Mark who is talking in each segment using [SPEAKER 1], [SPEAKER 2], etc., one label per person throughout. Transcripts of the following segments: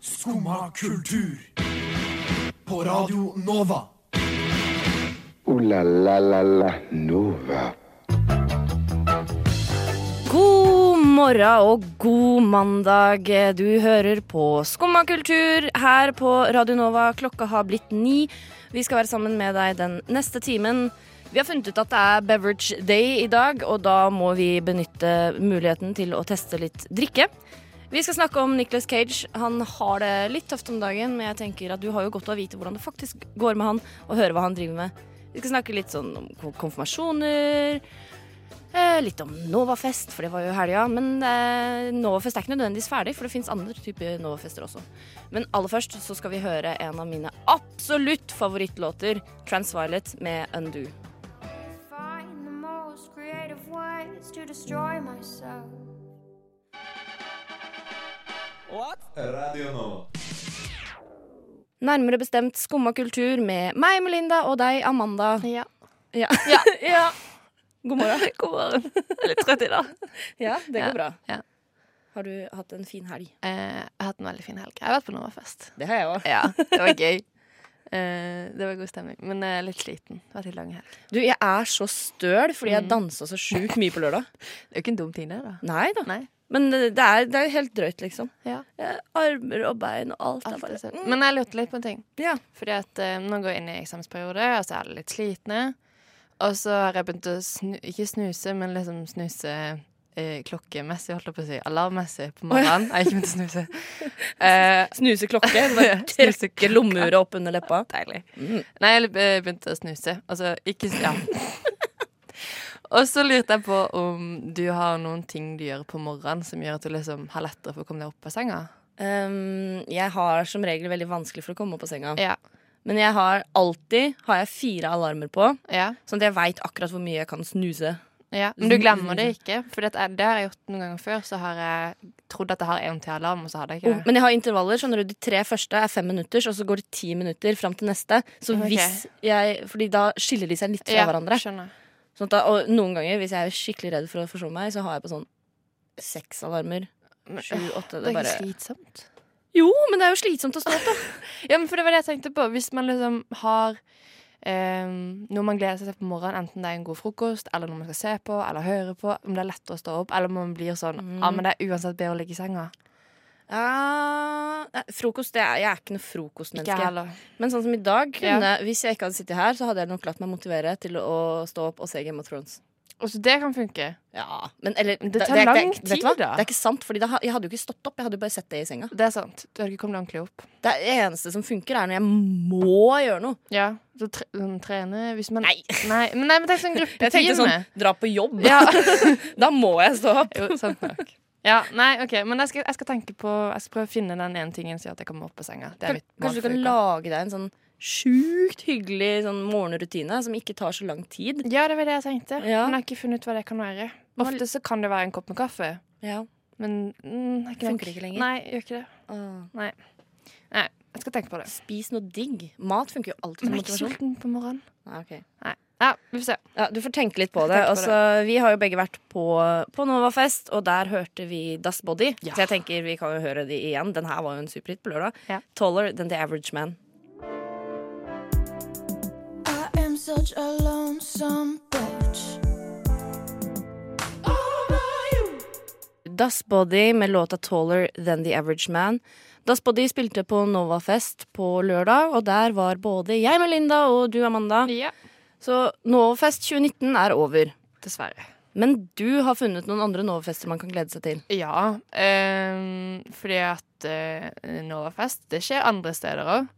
[SPEAKER 1] Skumma kultur. På Radio Nova.
[SPEAKER 2] Ooh la la la la Nova.
[SPEAKER 3] God morgen og god mandag. Du hører på Skumma kultur her på Radio Nova. Klokka har blitt ni. Vi skal være sammen med deg den neste timen. Vi har funnet ut at det er beverage day i dag, og da må vi benytte muligheten til å teste litt drikke. Vi skal snakke om Nicholas Cage. Han har det litt tøft om dagen, men jeg tenker at du har jo godt av å vite hvordan det faktisk går med han, og høre hva han driver med. Vi skal snakke litt sånn om konfirmasjoner, Eh, litt om Novafest, for det var jo i helga. Men eh, Novafest er ikke nødvendigvis ferdig, for det fins andre typer Novafester også. Men aller først så skal vi høre en av mine absolutt favorittlåter, Transviolet med Undo.
[SPEAKER 4] find the most creative ways to destroy myself.
[SPEAKER 3] Nærmere bestemt Skumma kultur med meg, Melinda, og deg, Amanda.
[SPEAKER 5] Ja.
[SPEAKER 3] Ja. God morgen.
[SPEAKER 5] God morgen. Jeg er litt trøtt i dag.
[SPEAKER 3] Ja, det går bra.
[SPEAKER 5] ja.
[SPEAKER 3] Har du hatt en fin helg?
[SPEAKER 5] Eh, jeg har hatt en veldig fin helg. Jeg har vært på Novafest.
[SPEAKER 3] Det har jeg òg.
[SPEAKER 5] Ja, det var gøy. Eh, det var god stemning. Men jeg er litt sliten. Det har vært en lang helg.
[SPEAKER 3] Du, jeg er så støl fordi jeg dansa så sjukt mye på lørdag.
[SPEAKER 5] Det er jo ikke en dum ting, det, da.
[SPEAKER 3] Nei da.
[SPEAKER 5] Nei.
[SPEAKER 3] Men eh, det det er, det er helt drøyt, liksom.
[SPEAKER 5] Ja,
[SPEAKER 3] Eh, Armer og bein og alt. er
[SPEAKER 5] alt er sånn.
[SPEAKER 3] bare, Mm.
[SPEAKER 5] søtt. Men jeg lurte litt på en ting.
[SPEAKER 3] ja.
[SPEAKER 5] Fordi at eh, nå går jeg inn i eksamensperiode, og så er det litt slitne. Og så har jeg begynt å snu, ikke snuse, men liksom snuse eh, klokkemessig, holdt jeg på å si. Alarmmessig på morgenen. Jeg har ikke begynt å snuse. Eh,
[SPEAKER 3] Snuse klokke. bare
[SPEAKER 5] Snuse
[SPEAKER 3] Trekke lommeuret opp under leppa.
[SPEAKER 5] Deilig. Nei, jeg eh, begynte å snuse. Altså, ikke s- Ja. Og så lurte jeg på om du har noen ting du gjør på morgenen som gjør at du liksom har lettere for å komme deg opp av senga.
[SPEAKER 3] Um, jeg har som regel veldig vanskelig for å komme opp av senga.
[SPEAKER 5] Ja.
[SPEAKER 3] Men jeg har alltid har jeg fire alarmer på,
[SPEAKER 5] Ja.
[SPEAKER 3] sånn at jeg veit akkurat hvor mye jeg kan snuse.
[SPEAKER 5] ja. Men du glemmer det ikke. For det, det har jeg gjort noen ganger før. Så har jeg trodd at jeg har en til alarm, og så hadde jeg
[SPEAKER 3] Oh,
[SPEAKER 5] ikke det.
[SPEAKER 3] men jeg har intervaller. skjønner du, De tre første er fem minutters, og så går det ti minutter fram til neste. Så
[SPEAKER 5] Ok.
[SPEAKER 3] hvis jeg, fordi da skiller de seg litt fra
[SPEAKER 5] Ja,
[SPEAKER 3] hverandre.
[SPEAKER 5] skjønner.
[SPEAKER 3] Sånn at da, og noen ganger, hvis jeg er skikkelig redd for å forsove meg, så har jeg på sånn seks alarmer.
[SPEAKER 5] Men,
[SPEAKER 3] Sju,
[SPEAKER 5] øh,
[SPEAKER 3] åtte.
[SPEAKER 5] Det
[SPEAKER 3] Det
[SPEAKER 5] er
[SPEAKER 3] bare
[SPEAKER 5] ikke slitsomt.
[SPEAKER 3] Jo, men det er jo slitsomt å stå opp, da.
[SPEAKER 5] Ja, men for det var det jeg tenkte på. Hvis man liksom har eh, noe man gleder seg til på morgenen, enten det er en god frokost, eller noe man skal se på, eller høre på, om det er lettere å stå opp, eller om man blir sånn Ja, men det er uansett bedre å ligge i senga.
[SPEAKER 3] Ja, nei, frokost, det er, Jeg er ikke noe frokostmenneske.
[SPEAKER 5] Ikke jeg heller.
[SPEAKER 3] Men sånn som i dag,
[SPEAKER 5] Ja.
[SPEAKER 3] kunne, hvis jeg ikke hadde sittet her, så hadde jeg nok latt meg motivere til å stå opp og se Game of Thrones.
[SPEAKER 5] Og så det kan funke.
[SPEAKER 3] Ja, men eller,
[SPEAKER 5] Men det tar
[SPEAKER 3] er-
[SPEAKER 5] lang
[SPEAKER 3] er- vet du
[SPEAKER 5] tid,
[SPEAKER 3] hva?
[SPEAKER 5] da.
[SPEAKER 3] Det er ikke sant, for jeg hadde jo ikke stått opp. Jeg hadde jo bare sett det i senga.
[SPEAKER 5] Det er sant. Du har ikke kommet ordentlig opp.
[SPEAKER 3] Det eneste som funker, er når jeg må gjøre noe.
[SPEAKER 5] Ja. Så tre sånn, trene hvis man
[SPEAKER 3] Nei.
[SPEAKER 5] Nei, men, nei, men tenk sånn gruppetime.
[SPEAKER 3] Jeg tenkte sånn dra på jobb.
[SPEAKER 5] Ja.
[SPEAKER 3] Da må jeg stå opp.
[SPEAKER 5] Jo, sant nok. Ja, nei, ok, men jeg skal, jeg skal tenke på Jeg skal prøve å finne den ene tingen som gjør at jeg kommer opp av senga. Det er
[SPEAKER 3] Kan,
[SPEAKER 5] mitt mål
[SPEAKER 3] kanskje du
[SPEAKER 5] for
[SPEAKER 3] kan
[SPEAKER 5] uka.
[SPEAKER 3] lage deg en sånn sjukt hyggelig sånn morgenrutine som ikke tar så lang tid.
[SPEAKER 5] Ja, det var det jeg tenkte.
[SPEAKER 3] Ja.
[SPEAKER 5] Men jeg har ikke funnet ut hva det kan være. Ofte så kan det være en kopp med kaffe,
[SPEAKER 3] Ja.
[SPEAKER 5] men mm, er
[SPEAKER 3] Funker
[SPEAKER 5] nok.
[SPEAKER 3] ikke lenger.
[SPEAKER 5] Nei, gjør ikke det.
[SPEAKER 3] Ah.
[SPEAKER 5] Nei. Nei, jeg skal tenke på det.
[SPEAKER 3] Spis noe digg. Mat funker jo alltid som
[SPEAKER 5] Men jeg er ikke
[SPEAKER 3] motivasjon.
[SPEAKER 5] sulten på morgenen.
[SPEAKER 3] Nei, ok.
[SPEAKER 5] Nei. Ja, vi får se.
[SPEAKER 3] Ja, Du får tenke litt på
[SPEAKER 5] Jeg
[SPEAKER 3] det.
[SPEAKER 5] tenker på
[SPEAKER 3] Altså, vi har jo begge vært på, på Novafest, og der hørte vi Das Body.
[SPEAKER 5] Ja.
[SPEAKER 3] Så jeg tenker vi kan jo høre de igjen. Den her var jo en superhit på lørdag.
[SPEAKER 5] Ja.
[SPEAKER 3] Taller than the average man.
[SPEAKER 6] I am such a lonesome bitch.
[SPEAKER 3] Das Body med låta 'Taller Than The Average Man'. Das Body spilte på Novafest på lørdag, og der var både jeg, Melinda, og du, Amanda.
[SPEAKER 5] Ja.
[SPEAKER 3] Så Novafest 2019 er over.
[SPEAKER 5] Dessverre.
[SPEAKER 3] Men du har funnet noen andre Novafester man kan glede seg til.
[SPEAKER 5] Ja, eh, fordi at eh, Novafest, det skjer andre steder òg.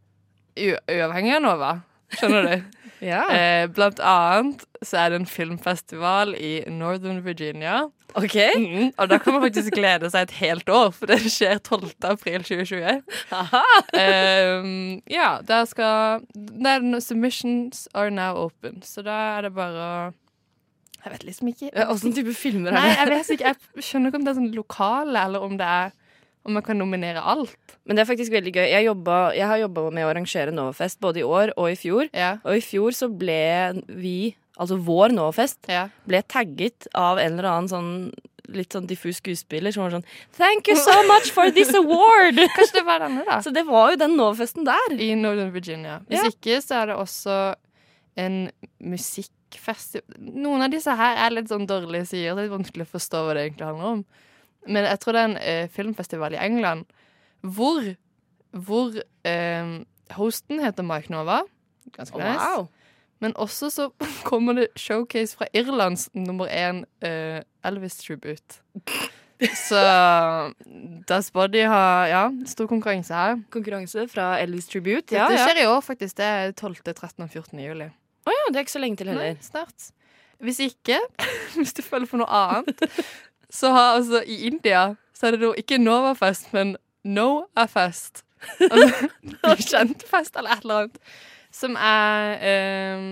[SPEAKER 5] Uavhengig av Nova, skjønner du. eh, blant annet så er det en filmfestival i Northern Virginia.
[SPEAKER 3] OK?
[SPEAKER 5] Mm, og da kan man faktisk glede seg et helt år, for det skjer 12. april 2020. Ehm, ja, der skal der, no- Submissions are now open, så da er det bare å Jeg vet liksom ikke.
[SPEAKER 3] Åssen type filmer er
[SPEAKER 5] Nei,
[SPEAKER 3] det?
[SPEAKER 5] jeg vet ikke. Jeg skjønner ikke om det er sånn lokale, eller om det er om man kan nominere alt.
[SPEAKER 3] Men det er faktisk veldig gøy. Jeg, jobba, jeg har jobba med å arrangere Novafest både i år og i fjor.
[SPEAKER 5] Ja.
[SPEAKER 3] Og i fjor så ble vi, altså vår Novafest,
[SPEAKER 5] ja.
[SPEAKER 3] ble tagget av en eller annen sånn litt sånn diffus skuespiller som var sånn Thank you so much for this award!
[SPEAKER 5] Kanskje det var denne, da.
[SPEAKER 3] Så det var jo den Nova-festen der.
[SPEAKER 5] I Northern Virginia. Hvis
[SPEAKER 3] Ja.
[SPEAKER 5] ikke, så er det også en musikkfestival Noen av disse her er litt sånn dårlige sider. så Det er litt vanskelig å forstå hva det egentlig handler om. Men jeg tror det er en eh, filmfestival i England hvor, hvor eh, hosten heter Mike Nova. Ganske nice. Men også så kommer det showcase fra Irlands nummer én eh, Elvis-tribute. Så Das Body har ja, stor konkurranse her.
[SPEAKER 3] Konkurranse fra Elvis Tribute.
[SPEAKER 5] Dette skjer i år, faktisk. Det er 12., 13. og 14. juli.
[SPEAKER 3] Å ja, det er ikke så lenge til
[SPEAKER 5] Nei,
[SPEAKER 3] heller.
[SPEAKER 5] snart. Hvis ikke, hvis du følger på noe annet, så har altså i India så er det nå ikke Novafest, men Noafest. Altså kjentfest eller et eller annet. Som er eh,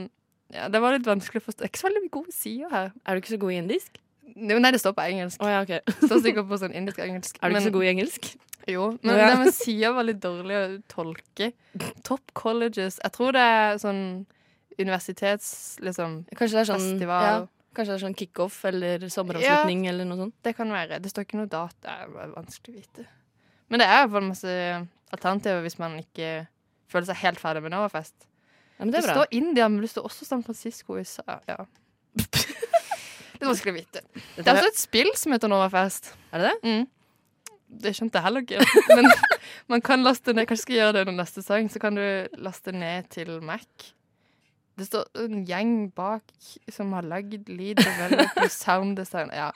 [SPEAKER 5] ja, Det var litt vanskelig å forstå. Det er ikke så veldig gode sider her.
[SPEAKER 3] Er du ikke så god i indisk?
[SPEAKER 5] Jo, Nei, det står på engelsk.
[SPEAKER 3] Å ja, ok. Er
[SPEAKER 5] Det står sikkert på sånn indisk-engelsk.
[SPEAKER 3] du
[SPEAKER 5] men-
[SPEAKER 3] ikke så god i engelsk?
[SPEAKER 5] jo, men
[SPEAKER 3] Ja.
[SPEAKER 5] det med sider var litt dårlig å tolke. Top colleges Jeg tror det er sånn universitets... Liksom
[SPEAKER 3] Kanskje det er sånn,
[SPEAKER 5] Festival.
[SPEAKER 3] ja, kanskje det er sånn kickoff eller sommeravslutning eller noe sånt.
[SPEAKER 5] Det kan være. Det står ikke noe data. Det er vanskelig å vite. Men det er i hvert fall masse alternativer hvis man ikke føler seg helt ferdig med Novafest.
[SPEAKER 3] Ja, men det er bra.
[SPEAKER 5] står India, men det står også San Francisco i USA. Ja. Det er vanskelig å vite. Det er
[SPEAKER 3] er-
[SPEAKER 5] også et spill som heter Novafest.
[SPEAKER 3] Er det det?
[SPEAKER 5] Mm. Det skjønte jeg heller ikke. Men man kan laste ned Kanskje jeg skal gjøre det under neste sang. Så kan du laste ned til Mac. Det står en gjeng bak som har lagd lyd og veldig sound design. Ja.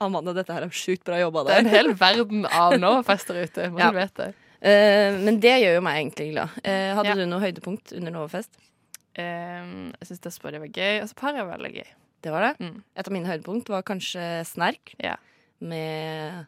[SPEAKER 3] Amanda, dette her er sjukt bra jobba av
[SPEAKER 5] Det er
[SPEAKER 3] deg.
[SPEAKER 5] en hel verden av Novafest der ute. Man
[SPEAKER 3] Ja.
[SPEAKER 5] vet det.
[SPEAKER 3] Eh, men det gjør jo meg egentlig glad. Eh, hadde
[SPEAKER 5] Ja.
[SPEAKER 3] du noe høydepunkt under Novafest?
[SPEAKER 5] Ehm, jeg syns Despo det var gøy. Og så Parry var veldig gøy.
[SPEAKER 3] Det var det.
[SPEAKER 5] Mm.
[SPEAKER 3] Et av mine høydepunkt var kanskje Snerk.
[SPEAKER 5] Ja.
[SPEAKER 3] Med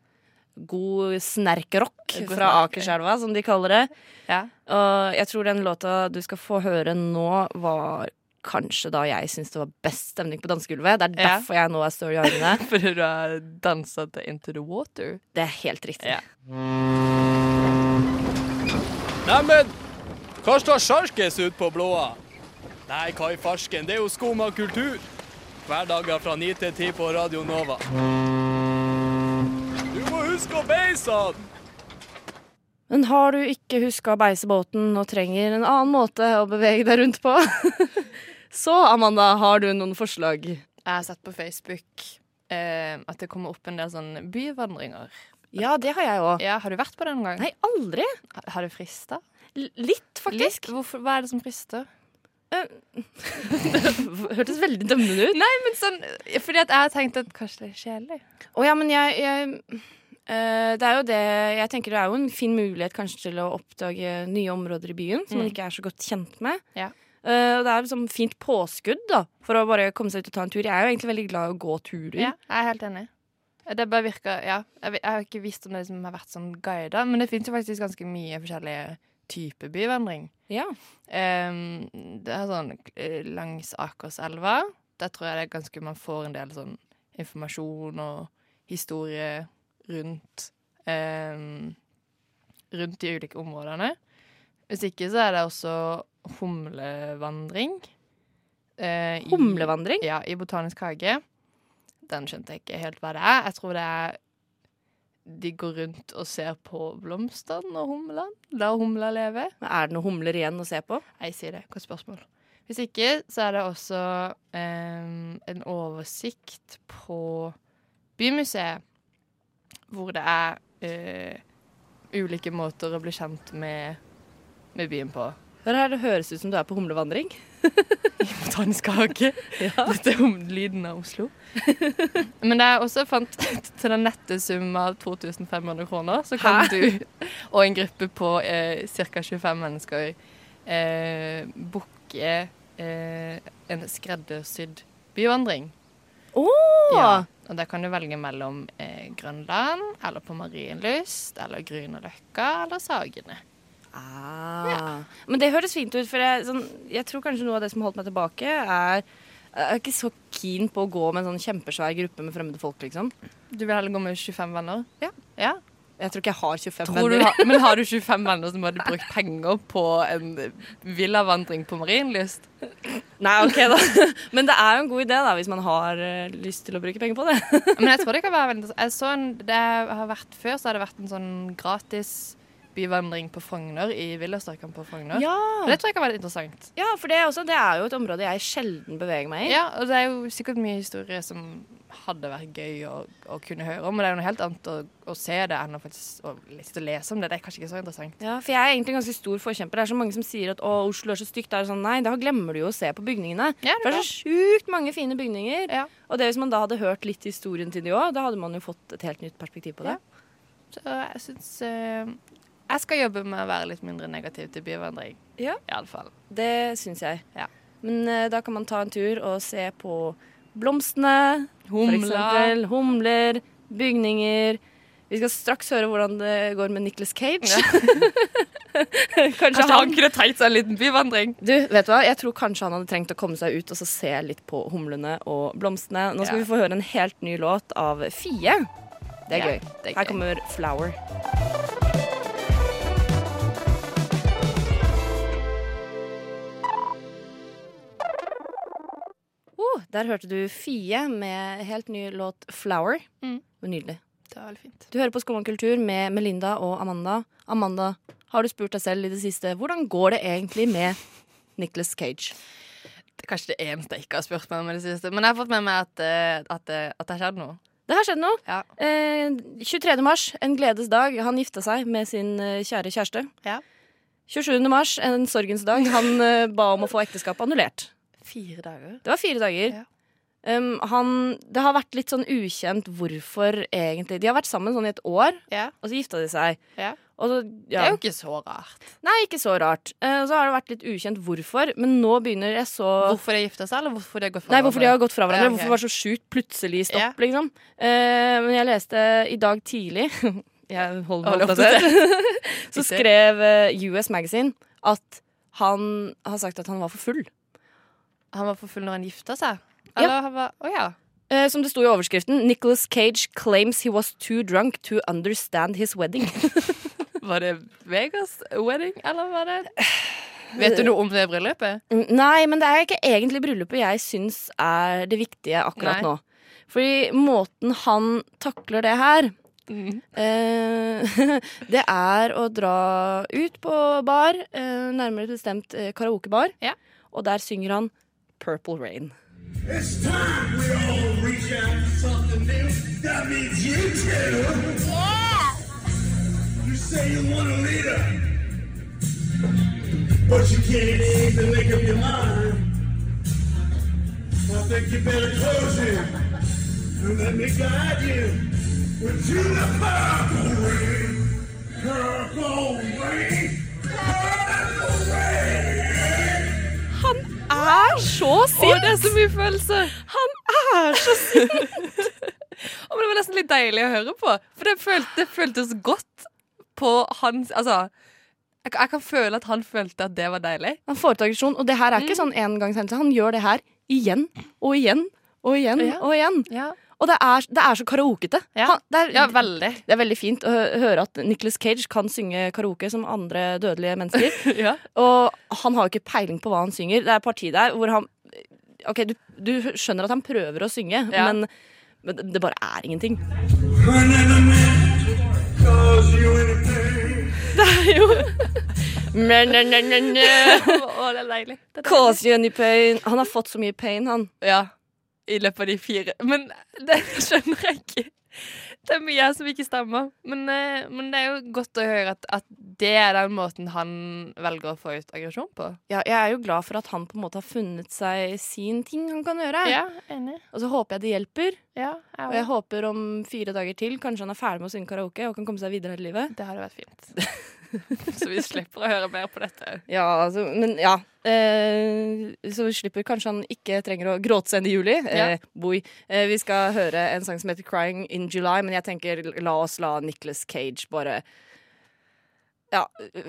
[SPEAKER 3] god snerkrock
[SPEAKER 5] God
[SPEAKER 3] fra
[SPEAKER 5] snerk, ja.
[SPEAKER 3] Akerselva, som de kaller det.
[SPEAKER 5] Ja.
[SPEAKER 3] Og jeg tror den låta du skal få høre nå, var kanskje da jeg syntes det var best stemning på dansegulvet. Det er
[SPEAKER 5] Ja.
[SPEAKER 3] derfor jeg nå er story armene.
[SPEAKER 5] Fordi du har dansa til Into the Water.
[SPEAKER 3] Det er helt riktig.
[SPEAKER 5] Ja.
[SPEAKER 7] Neimen, hva står sjarkes ut på blåa? Nei, hva i farsken, det er jo skum av kultur. Hverdager fra 9 til 10 på Radio Nova. Du må huske å beise han!
[SPEAKER 3] Men har du ikke huska å beise båten og trenger en annen måte å bevege deg rundt på, så Amanda, har du noen forslag?
[SPEAKER 5] Jeg har sett på Facebook eh, at det kommer opp en del sånne byvandringer.
[SPEAKER 3] Ja, det har jeg òg.
[SPEAKER 5] Ja, Har du vært på det noen gang?
[SPEAKER 3] Nei, aldri.
[SPEAKER 5] Ha- Har det frista?
[SPEAKER 3] L litt, faktisk.
[SPEAKER 5] Litt? Hvorfor, hva er det som frister?
[SPEAKER 3] Hørtes veldig dømmende ut.
[SPEAKER 5] Nei, men sånn, Fordi at jeg har tenkt at kanskje det er kjedelig.
[SPEAKER 3] Å ja, men jeg, jeg eh, Det er jo det Jeg tenker det er jo en fin mulighet kanskje til å oppdage nye områder i byen som man
[SPEAKER 5] Mm.
[SPEAKER 3] ikke er så godt kjent med.
[SPEAKER 5] Ja.
[SPEAKER 3] Eh, og det er liksom fint påskudd da for å bare komme seg ut og ta en tur. Jeg er jo egentlig veldig glad i å gå turer.
[SPEAKER 5] Ja, jeg er helt enig. Det bare virker, ja. Jeg, vet- jeg har ikke visst om det liksom har vært sånn guida, men det fins jo faktisk ganske mye forskjellige typer byvandring.
[SPEAKER 3] Ja.
[SPEAKER 5] Ehm, det er sånn eh, langs Akerselva. Der tror jeg det er ganske man får en del sånn informasjon og historie rundt ehm, Rundt de ulike områdene. Hvis ikke så er det også humlevandring. eh, i-
[SPEAKER 3] Humlevandring.
[SPEAKER 5] ja, i Botanisk hage. Den skjønte jeg ikke helt hva det er. Jeg tror det er de går rundt og ser på blomstene og humlene. La humla leve.
[SPEAKER 3] Er det noen humler igjen å se på?
[SPEAKER 5] Nei, si det. Godt spørsmål. Hvis ikke, så er det også em, en oversikt på Bymuseet, hvor det er eh, ulike måter å bli kjent med, med byen på.
[SPEAKER 3] Hør her, det høres ut som du er på humlevandring.
[SPEAKER 5] Botanisk hage. Dette er om lyden av Oslo. Men det jeg også fant til den nette sum av 2500 kroner, så kan
[SPEAKER 3] Hæ?
[SPEAKER 5] du og en gruppe på eh, ca. 25 mennesker eh, booke eh, en skreddersydd byvandring.
[SPEAKER 3] Å!
[SPEAKER 5] Ja, og der kan du velge mellom eh, Grønland, eller på Marienlyst, eller Grünerløkka, eller Sagene.
[SPEAKER 3] Ah. Men det høres fint ut, for jeg, sånn, jeg tror kanskje noe av det som holdt meg tilbake, er jeg er ikke så keen på å gå med en sånn kjempesvær gruppe med fremmede folk, liksom.
[SPEAKER 5] Du vil heller gå med 25 venner?
[SPEAKER 3] Ja.
[SPEAKER 5] ja.
[SPEAKER 8] Jeg tror ikke jeg har 25
[SPEAKER 5] Tror du
[SPEAKER 8] venner.
[SPEAKER 5] har- men har du 25 venner som hadde brukt penger på en villavandring på Marienlyst?
[SPEAKER 3] Nei, ok da. Men det er jo en god idé da, hvis man har eh, lyst til å bruke penger på det.
[SPEAKER 5] Men jeg tror det kan være veldig interessant. Jeg så en, det har vært Før så har det vært en sånn gratis byvandring på Frogner, i Villastrøkene på Frogner. Og Det tror jeg kan være litt interessant.
[SPEAKER 3] ja for det, er også, det er jo et område jeg sjelden beveger meg i.
[SPEAKER 5] Ja, og det er jo sikkert mye historie som hadde vært gøy å, å kunne høre om, men det er jo noe helt annet å, å se det enn å faktisk å, sitte og lese om det. Det er kanskje ikke så interessant.
[SPEAKER 3] Ja, for jeg er egentlig en ganske stor forkjemper. Det er så mange som sier at å, Oslo er så stygt. Det er sånn, nei, da glemmer du jo å se på bygningene.
[SPEAKER 5] Ja, det er
[SPEAKER 3] for det er så sjukt mange fine bygninger.
[SPEAKER 5] Ja.
[SPEAKER 3] Og det hvis man da hadde hørt litt historien til de òg, da hadde man jo fått et helt nytt perspektiv på det.
[SPEAKER 5] Så jeg syns eh, Jeg skal jobbe med å være litt mindre negativ til byvandring.
[SPEAKER 3] Ja.
[SPEAKER 5] Iallfall.
[SPEAKER 3] Det syns jeg.
[SPEAKER 5] Ja.
[SPEAKER 3] Men eh, da kan man ta en tur og se på blomstene, for
[SPEAKER 5] Humla.
[SPEAKER 3] eksempel. Humler, bygninger. Vi skal straks høre hvordan det går med Nicholas Cage. kanskje han
[SPEAKER 5] kunne trengt seg en liten byvandring.
[SPEAKER 3] Du, vet du hva? Jeg tror kanskje han hadde trengt å komme seg ut og så se litt på humlene og blomstene. Nå skal
[SPEAKER 5] Ja.
[SPEAKER 3] vi få høre en helt ny låt av Fie. Det er
[SPEAKER 5] Ja,
[SPEAKER 3] gøy.
[SPEAKER 5] det er gøy.
[SPEAKER 3] Her kommer 'Flower'. Oh, der hørte du Fie med helt ny låt 'Flower'.
[SPEAKER 5] Mm.
[SPEAKER 3] Det var Nydelig.
[SPEAKER 5] Det var veldig fint.
[SPEAKER 3] Du hører på Skum og kultur med Melinda og Amanda. Amanda, har du spurt deg selv i det siste hvordan går det egentlig med Nicholas Cage?
[SPEAKER 5] Det er kanskje det eneste jeg ikke har spurt meg om i det siste. Men jeg har fått med meg at, eh, at, eh, at det har skjedd noe.
[SPEAKER 3] Det har skjedd noe.
[SPEAKER 5] Ja.
[SPEAKER 3] Eh, 23. mars, en gledes dag. Han gifta seg med sin eh, kjære kjæreste.
[SPEAKER 5] Ja.
[SPEAKER 3] 27. mars, en sorgens dag. Han eh, ba om å få ekteskapet annullert.
[SPEAKER 5] Fire dager.
[SPEAKER 3] Det var fire dager.
[SPEAKER 5] Ja.
[SPEAKER 3] Um, han, det har vært litt sånn ukjent hvorfor egentlig. De har vært sammen sånn i et år,
[SPEAKER 5] Ja.
[SPEAKER 3] og så gifta de seg.
[SPEAKER 5] Ja.
[SPEAKER 3] Og så,
[SPEAKER 5] Det
[SPEAKER 3] ja.
[SPEAKER 5] er jo ikke så rart.
[SPEAKER 3] Nei, ikke så rart. Eh, Og så har det vært litt ukjent hvorfor, men nå begynner jeg så
[SPEAKER 5] Hvorfor de gifta seg, eller hvorfor de har gått fra
[SPEAKER 3] Nei, hvorfor de har gått fra hverandre.
[SPEAKER 5] Ja, ok.
[SPEAKER 3] Hvorfor det var så sjukt plutselig stopp,
[SPEAKER 5] Ja.
[SPEAKER 3] liksom. Eh, men jeg leste i dag tidlig Jeg holder
[SPEAKER 5] Hold
[SPEAKER 3] meg
[SPEAKER 5] opp
[SPEAKER 3] oppdatert. så
[SPEAKER 5] Ikke.
[SPEAKER 3] skrev eh, US Magazine at han har sagt at han var for full.
[SPEAKER 5] Han var for full når han gifta seg?
[SPEAKER 3] Ja.
[SPEAKER 5] Eller han var Å ja.
[SPEAKER 3] Eh, som det sto i overskriften, Nicholas Cage claims he was too drunk to understand his wedding.
[SPEAKER 5] Var det Vegas wedding, eller var det Vet du noe om det bryllupet?
[SPEAKER 3] Mm, Nei, men det er ikke egentlig bryllupet jeg syns er det viktige akkurat
[SPEAKER 5] Nei.
[SPEAKER 3] nå. Fordi måten han takler det her
[SPEAKER 5] Mm.
[SPEAKER 3] eh, Det er å dra ut på bar, eh, nærmere bestemt eh, karaokebar,
[SPEAKER 5] Ja.
[SPEAKER 3] og der synger han Purple Rain.
[SPEAKER 9] It's time we all reach out for something new. That means you too.
[SPEAKER 4] Yeah!
[SPEAKER 9] You say you want to lead her, but you can't seem to make up your mind. I think you better close it and let me guide you. Would you the purple rain? Purple rain. Purple rain.
[SPEAKER 3] Er så
[SPEAKER 5] Å, det er så mye følelser! Han er så sint! Å, men det var nesten litt deilig å høre på. For det, følt, det føltes godt på hans Altså, jeg, jeg kan føle at han følte at det var deilig.
[SPEAKER 3] Han får ut aggresjon, og det her er ikke
[SPEAKER 5] Mm.
[SPEAKER 3] sånn engangshendelse. Han gjør det her igjen og igjen og igjen
[SPEAKER 5] Ja.
[SPEAKER 3] og igjen.
[SPEAKER 5] Ja,
[SPEAKER 3] Og det er, det er så karaokete.
[SPEAKER 5] Ja.
[SPEAKER 3] Han, det er,
[SPEAKER 5] veldig.
[SPEAKER 3] Det er veldig fint å hø- høre at Nicolas Cage kan synge karaoke som andre dødelige mennesker.
[SPEAKER 5] Ja.
[SPEAKER 3] Og han har jo ikke peiling på hva han synger. Det er et parti der hvor han Ok, du, du skjønner at han prøver å synge,
[SPEAKER 5] Ja.
[SPEAKER 3] men, men det bare er ingenting.
[SPEAKER 9] Running a man cause you anything.
[SPEAKER 3] Men, men, men, men, men.
[SPEAKER 5] Å, å, det er deilig. Det er deilig.
[SPEAKER 3] Cause you any pain. Han har fått så mye pain, han.
[SPEAKER 5] Ja. I løpet av de fire. Men det skjønner jeg ikke. Det er mye her som ikke stemmer. Men, eh, men det er jo godt å høre at, at det er den måten han velger å få ut aggresjon på.
[SPEAKER 3] Ja, jeg er jo glad for at han på en måte har funnet seg sin ting han kan gjøre.
[SPEAKER 5] enig.
[SPEAKER 3] Og så håper jeg det hjelper.
[SPEAKER 5] Ja,
[SPEAKER 3] Og jeg håper om fire dager til kanskje han er ferdig med å synge karaoke og kan komme seg videre i livet.
[SPEAKER 5] Det hadde vært fint. Så vi slipper å høre mer på dette.
[SPEAKER 3] Ja, altså, men ja. Eh, så vi slipper kanskje han ikke trenger å gråtsende i juli. Eh, boy. Eh, vi skal høre en sang som heter 'Crying in July', men jeg tenker la oss la Nicholas Cage bare Ja.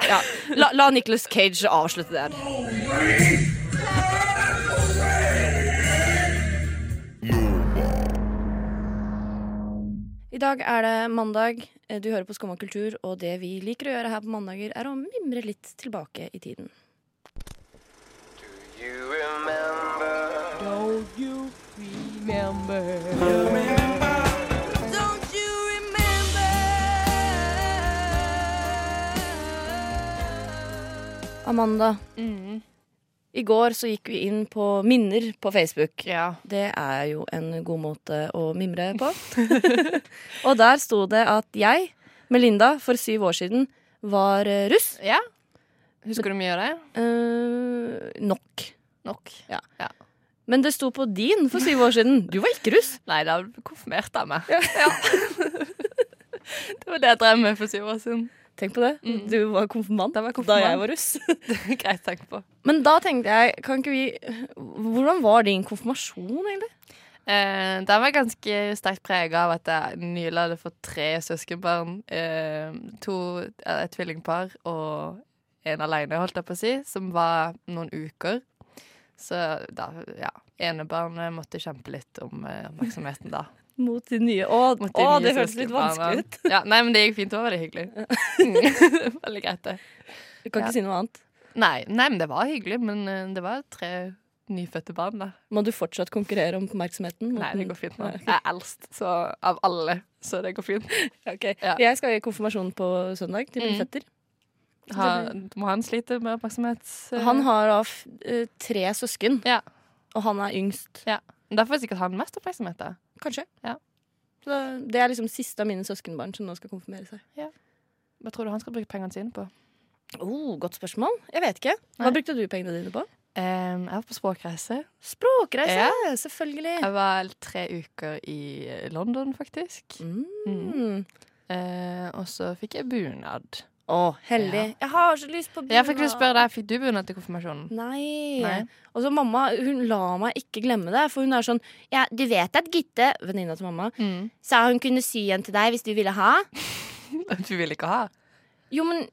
[SPEAKER 3] ja. La, la Nicholas Cage avslutte det her. I I dag er det mandag. Eh, Du hører på Skumma kultur, og det vi liker å gjøre her på mandager, er å mimre litt tilbake i tiden.
[SPEAKER 6] Don't you remember?
[SPEAKER 3] Amanda, i går så gikk vi inn på minner på Facebook.
[SPEAKER 5] Ja.
[SPEAKER 3] Det er jo en god måte å mimre på. og der sto det at jeg, Melinda, for syv år siden var eh, russ.
[SPEAKER 5] ja. Husker du mye av det?
[SPEAKER 3] Eh, nok.
[SPEAKER 5] Nok.
[SPEAKER 3] Ja. Men det sto på din for syv år siden. Du var ikke russ.
[SPEAKER 5] Nei, da ble du konfirmert av meg. Ja. det var det jeg drev med for syv år siden.
[SPEAKER 3] Tenk på det.
[SPEAKER 5] Mm.
[SPEAKER 3] Du var konfirmant da, jeg var russ.
[SPEAKER 5] Det er greit å tenke på.
[SPEAKER 3] Men da tenkte jeg, kan ikke vi Hvordan var din konfirmasjon, egentlig?
[SPEAKER 5] Eh, den var ganske sterkt prega av at jeg nylig hadde fått tre søskenbarn. Eh, to, eh, et tvillingpar og en aleine, holdt jeg på å si, som var noen uker. Så da, ja. Enebarnet måtte kjempe litt om eh, oppmerksomheten da.
[SPEAKER 3] Mot de nye Å,
[SPEAKER 5] mot de
[SPEAKER 3] å
[SPEAKER 5] nye
[SPEAKER 3] det hørtes litt vanskelig ut.
[SPEAKER 5] søskenbarna. Ja, nei, men det gikk fint. Det var veldig hyggelig. Mm. veldig greit, det.
[SPEAKER 3] Du kan
[SPEAKER 5] Ja.
[SPEAKER 3] ikke si noe annet.
[SPEAKER 5] Nei, nei, men det var hyggelig, men eh, det var tre nyfødte barn, da.
[SPEAKER 3] Må du fortsatt konkurrere om oppmerksomheten? mot
[SPEAKER 5] Nei, det
[SPEAKER 3] den-
[SPEAKER 5] går fint nå. Jeg er eldst så, av alle, så det går fint.
[SPEAKER 3] Ok.
[SPEAKER 5] Ja.
[SPEAKER 3] Jeg skal i konfirmasjon på søndag til min
[SPEAKER 5] Mm.
[SPEAKER 3] fetter.
[SPEAKER 5] Ha, må han slite med oppmerksomhet? eh?
[SPEAKER 3] Han har da f- eh, tre søsken,
[SPEAKER 5] Ja.
[SPEAKER 3] og han er yngst.
[SPEAKER 5] ja. Da får sikkert han mest oppmerksomhet, da.
[SPEAKER 3] Kanskje.
[SPEAKER 5] Ja.
[SPEAKER 3] Så da- det er liksom siste av mine søskenbarn som nå skal konfirmere seg.
[SPEAKER 5] Hva tror du han skal bruke pengene sine på?
[SPEAKER 3] Oh, godt spørsmål. Jeg vet ikke. Hva
[SPEAKER 5] Nei.
[SPEAKER 3] brukte du pengene dine på?
[SPEAKER 5] Em, jeg var på språkreise.
[SPEAKER 3] Språkreise, selvfølgelig.
[SPEAKER 5] Jeg var tre uker i eh, London, faktisk.
[SPEAKER 3] Mm.
[SPEAKER 5] Eh, og så fikk jeg bunad.
[SPEAKER 3] Å, heldig. Jeg har så lyst på bunad.
[SPEAKER 5] Jeg fikk lyst til å spørre deg, fikk du bunad til konfirmasjonen?
[SPEAKER 3] Nei.
[SPEAKER 5] Nei.
[SPEAKER 3] Og så mamma hun la meg ikke glemme det, for hun er sånn ja, 'Du vet at Gitte, venninna til mamma,
[SPEAKER 5] Mm.
[SPEAKER 3] sa hun kunne sy en til deg hvis du ville ha?'
[SPEAKER 5] Du ville ikke ha?
[SPEAKER 3] Jo, men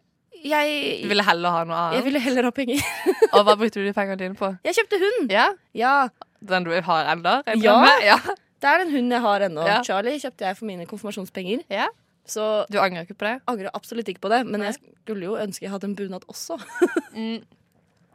[SPEAKER 5] Du
[SPEAKER 3] jeg
[SPEAKER 5] ville heller ha noe
[SPEAKER 3] Jeg
[SPEAKER 5] annet?
[SPEAKER 3] ville heller ha penger.
[SPEAKER 5] Og hva brukte du de pengene dine på?
[SPEAKER 3] Jeg kjøpte hund!
[SPEAKER 5] Ja?
[SPEAKER 3] Ja.
[SPEAKER 5] Den du har ennå? regner jeg
[SPEAKER 3] Ja.
[SPEAKER 5] med? ja.
[SPEAKER 3] Det er den hunden jeg har ennå.
[SPEAKER 5] Ja.
[SPEAKER 3] Charlie kjøpte jeg for mine konfirmasjonspenger.
[SPEAKER 5] Ja.
[SPEAKER 3] Så
[SPEAKER 5] Du angrer ikke på det?
[SPEAKER 3] angrer absolutt ikke på det, men jeg skulle jo ønske jeg hadde en bunad også.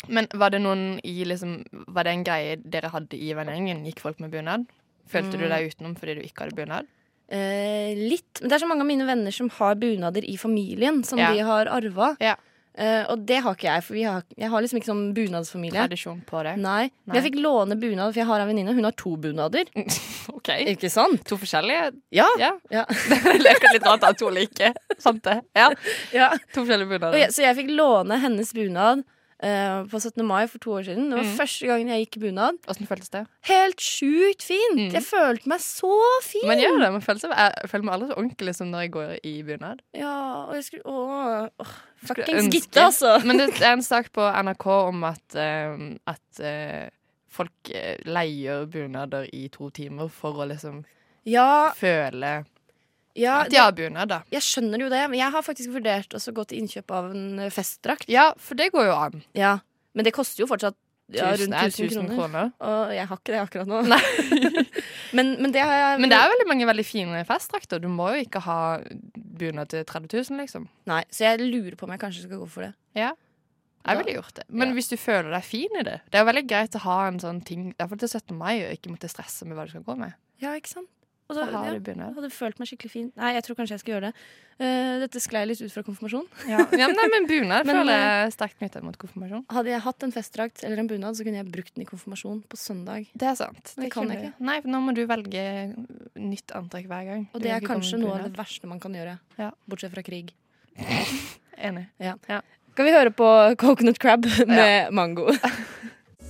[SPEAKER 5] Men var det noen i liksom Var det en greie dere hadde i vennegjengen? Gikk folk med bunad? Følte du deg utenom fordi du ikke hadde bunad?
[SPEAKER 3] Eh, litt. Men det er så mange av mine venner som har bunader i familien, som
[SPEAKER 5] Ja.
[SPEAKER 3] de har arva.
[SPEAKER 5] Ja.
[SPEAKER 3] Eh, og det har ikke jeg, for vi har, jeg har liksom ikke sånn bunadsfamilie.
[SPEAKER 5] Tradisjon på det?
[SPEAKER 3] Nei. Men jeg fikk låne bunad, for jeg har en venninne. Hun har to bunader.
[SPEAKER 5] OK.
[SPEAKER 3] Ikke sant?
[SPEAKER 5] To forskjellige?
[SPEAKER 3] Ja.
[SPEAKER 5] Ja.
[SPEAKER 3] Ja.
[SPEAKER 5] Det er akkurat litt rart at to like. Sant det? Ja.
[SPEAKER 3] ja.
[SPEAKER 5] To forskjellige
[SPEAKER 3] Og
[SPEAKER 5] bunader.
[SPEAKER 3] jeg, så jeg fikk låne hennes bunad eh, på 17. mai for to år siden.
[SPEAKER 5] Mm.
[SPEAKER 3] Det var første gangen jeg gikk i bunad.
[SPEAKER 5] Åssen føltes det?
[SPEAKER 3] Helt sjukt fint!
[SPEAKER 5] Mm.
[SPEAKER 3] Jeg følte meg så fin!
[SPEAKER 5] Man gjør det. Man føler, seg, jeg føler meg aldri så ordentlig som når jeg går i bunad.
[SPEAKER 3] Ja, og jeg skulle Åh, åh
[SPEAKER 5] Skulle
[SPEAKER 3] Fuckings
[SPEAKER 5] ønske- Mm.
[SPEAKER 3] Gitte, altså!
[SPEAKER 5] Men det er en sak på NRK om at, eh, at eh, folk eh, leier bunader i to timer for å liksom
[SPEAKER 3] Ja,
[SPEAKER 5] føle
[SPEAKER 3] ja
[SPEAKER 5] at de
[SPEAKER 3] det,
[SPEAKER 5] har bunad, da.
[SPEAKER 3] jeg skjønner jo det, men jeg har faktisk vurdert også å gå til innkjøp av en eh, festdrakt.
[SPEAKER 5] Ja, for det går jo an.
[SPEAKER 3] Ja, Men det koster jo fortsatt ja,
[SPEAKER 5] Tusen-
[SPEAKER 3] rundt
[SPEAKER 5] nei,
[SPEAKER 3] 1000
[SPEAKER 5] tusen
[SPEAKER 3] kroner. Og jeg har ikke det akkurat nå.
[SPEAKER 5] Nei.
[SPEAKER 3] men, men det har jeg
[SPEAKER 5] Men det er veldig mange veldig fine festdrakter. Du må jo ikke ha bunad til 30 000, liksom.
[SPEAKER 3] Nei, Så jeg lurer på om jeg kanskje skal gå for det.
[SPEAKER 5] Jeg
[SPEAKER 3] Ja.
[SPEAKER 5] ville gjort det. Men
[SPEAKER 3] Ja.
[SPEAKER 5] hvis du føler deg fin i det Det er jo veldig greit å ha en sånn ting Iallfall til 17. mai og ikke måtte stresse med hva du skal gå med.
[SPEAKER 3] Ja, ikke sant? Og
[SPEAKER 5] Da
[SPEAKER 3] da, ja,
[SPEAKER 5] har du bunad.
[SPEAKER 3] jeg hadde følt meg skikkelig fin. Nei, jeg tror kanskje jeg skal gjøre det. Eh, dette sklei litt ut fra konfirmasjon.
[SPEAKER 5] Ja. men nei, men eh, bunad
[SPEAKER 3] Men,
[SPEAKER 5] føler jeg er sterkt knyttet mot konfirmasjon.
[SPEAKER 3] Hadde jeg hatt en festdrakt eller en bunad, så kunne jeg brukt den i konfirmasjon på søndag.
[SPEAKER 5] Det er sant.
[SPEAKER 3] Det kan jeg
[SPEAKER 5] kunne- Nei, for nå må du velge nytt antrekk hver gang.
[SPEAKER 3] Og det
[SPEAKER 5] Du kan
[SPEAKER 3] er
[SPEAKER 5] ikke komme
[SPEAKER 3] kanskje
[SPEAKER 5] med
[SPEAKER 3] noe av
[SPEAKER 5] bunad.
[SPEAKER 3] det verste man kan gjøre.
[SPEAKER 5] Ja.
[SPEAKER 3] Bortsett fra krig.
[SPEAKER 5] Enig.
[SPEAKER 3] Skal vi høre på Coconut Crab med mango?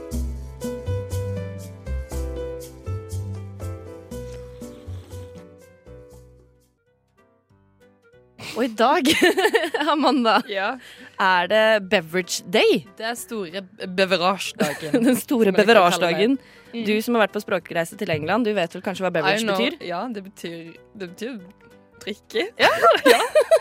[SPEAKER 3] Og i dag, Amanda, er det beverage day.
[SPEAKER 5] Det er store beverasjedagen.
[SPEAKER 3] Den store
[SPEAKER 5] Som jeg kan kalle
[SPEAKER 3] beverasjedagen.
[SPEAKER 5] det. Mm.
[SPEAKER 3] Du som har vært på språkreise til England, du vet vel kanskje hva
[SPEAKER 5] I
[SPEAKER 3] beverage
[SPEAKER 5] know.
[SPEAKER 3] betyr?
[SPEAKER 5] Ja, det betyr, det betyr drikke.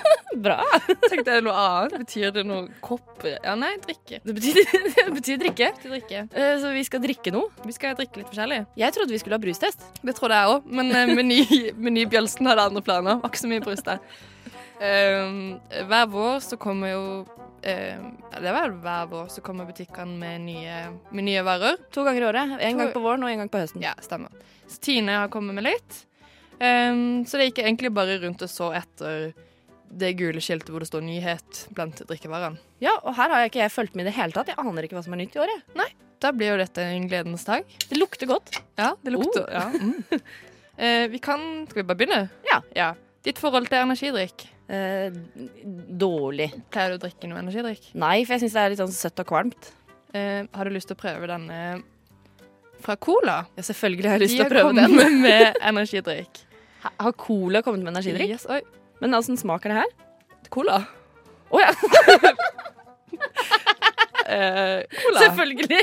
[SPEAKER 3] Bra.
[SPEAKER 5] Tenkte jeg noe annet. Betyr det noe kopper? Ja, nei, drikke.
[SPEAKER 3] Det betyr, det betyr drikke.
[SPEAKER 5] Til drikke.
[SPEAKER 3] Eh, Så vi skal drikke noe.
[SPEAKER 5] Vi skal drikke litt forskjellig.
[SPEAKER 3] Jeg trodde vi skulle ha brustest.
[SPEAKER 5] Det trodde jeg òg, men eh, Meny, Meny Bjølsen hadde andre planer. Var ikke så mye brus der. Ehm, hver vår så kommer jo ehm, ja, Det er vel hver vår så kommer butikkene med nye, med nye varer.
[SPEAKER 3] To ganger i året. En gang
[SPEAKER 5] To-
[SPEAKER 3] på våren og en gang på høsten.
[SPEAKER 5] Ja, stemmer. Så Tine har kommet med litt. Ehm, så det gikk egentlig bare rundt og så etter det gule skiltet hvor det står 'nyhet' blant drikkevarene.
[SPEAKER 3] Ja, og her har jeg ikke jeg fulgt med i det hele tatt. Jeg aner ikke hva som er nytt i år. jeg.
[SPEAKER 5] Da blir jo dette en gledens dag.
[SPEAKER 3] Det lukter godt.
[SPEAKER 5] Ja, det lukter
[SPEAKER 3] Oh.
[SPEAKER 5] ja, mm. Eh, Vi kan Skal vi bare begynne?
[SPEAKER 3] Ja.
[SPEAKER 5] Ditt forhold til energidrikk?
[SPEAKER 3] Eh, dårlig.
[SPEAKER 5] Pleier du å drikke noe energidrikk?
[SPEAKER 3] Nei, for jeg syns det er litt sånn søtt og kvalmt.
[SPEAKER 5] Eh, har du lyst til å prøve denne fra Cola?
[SPEAKER 3] Ja, selvfølgelig har jeg lyst
[SPEAKER 5] De
[SPEAKER 3] til
[SPEAKER 5] har
[SPEAKER 3] å prøve den.
[SPEAKER 5] kommet med energidrikk.
[SPEAKER 3] Ha- Har cola kommet med energidrikk?
[SPEAKER 5] Yes, oi.
[SPEAKER 3] Men åssen smaker det her?
[SPEAKER 5] Cola?
[SPEAKER 3] Å ja,
[SPEAKER 5] Eh, cola.
[SPEAKER 3] selvfølgelig!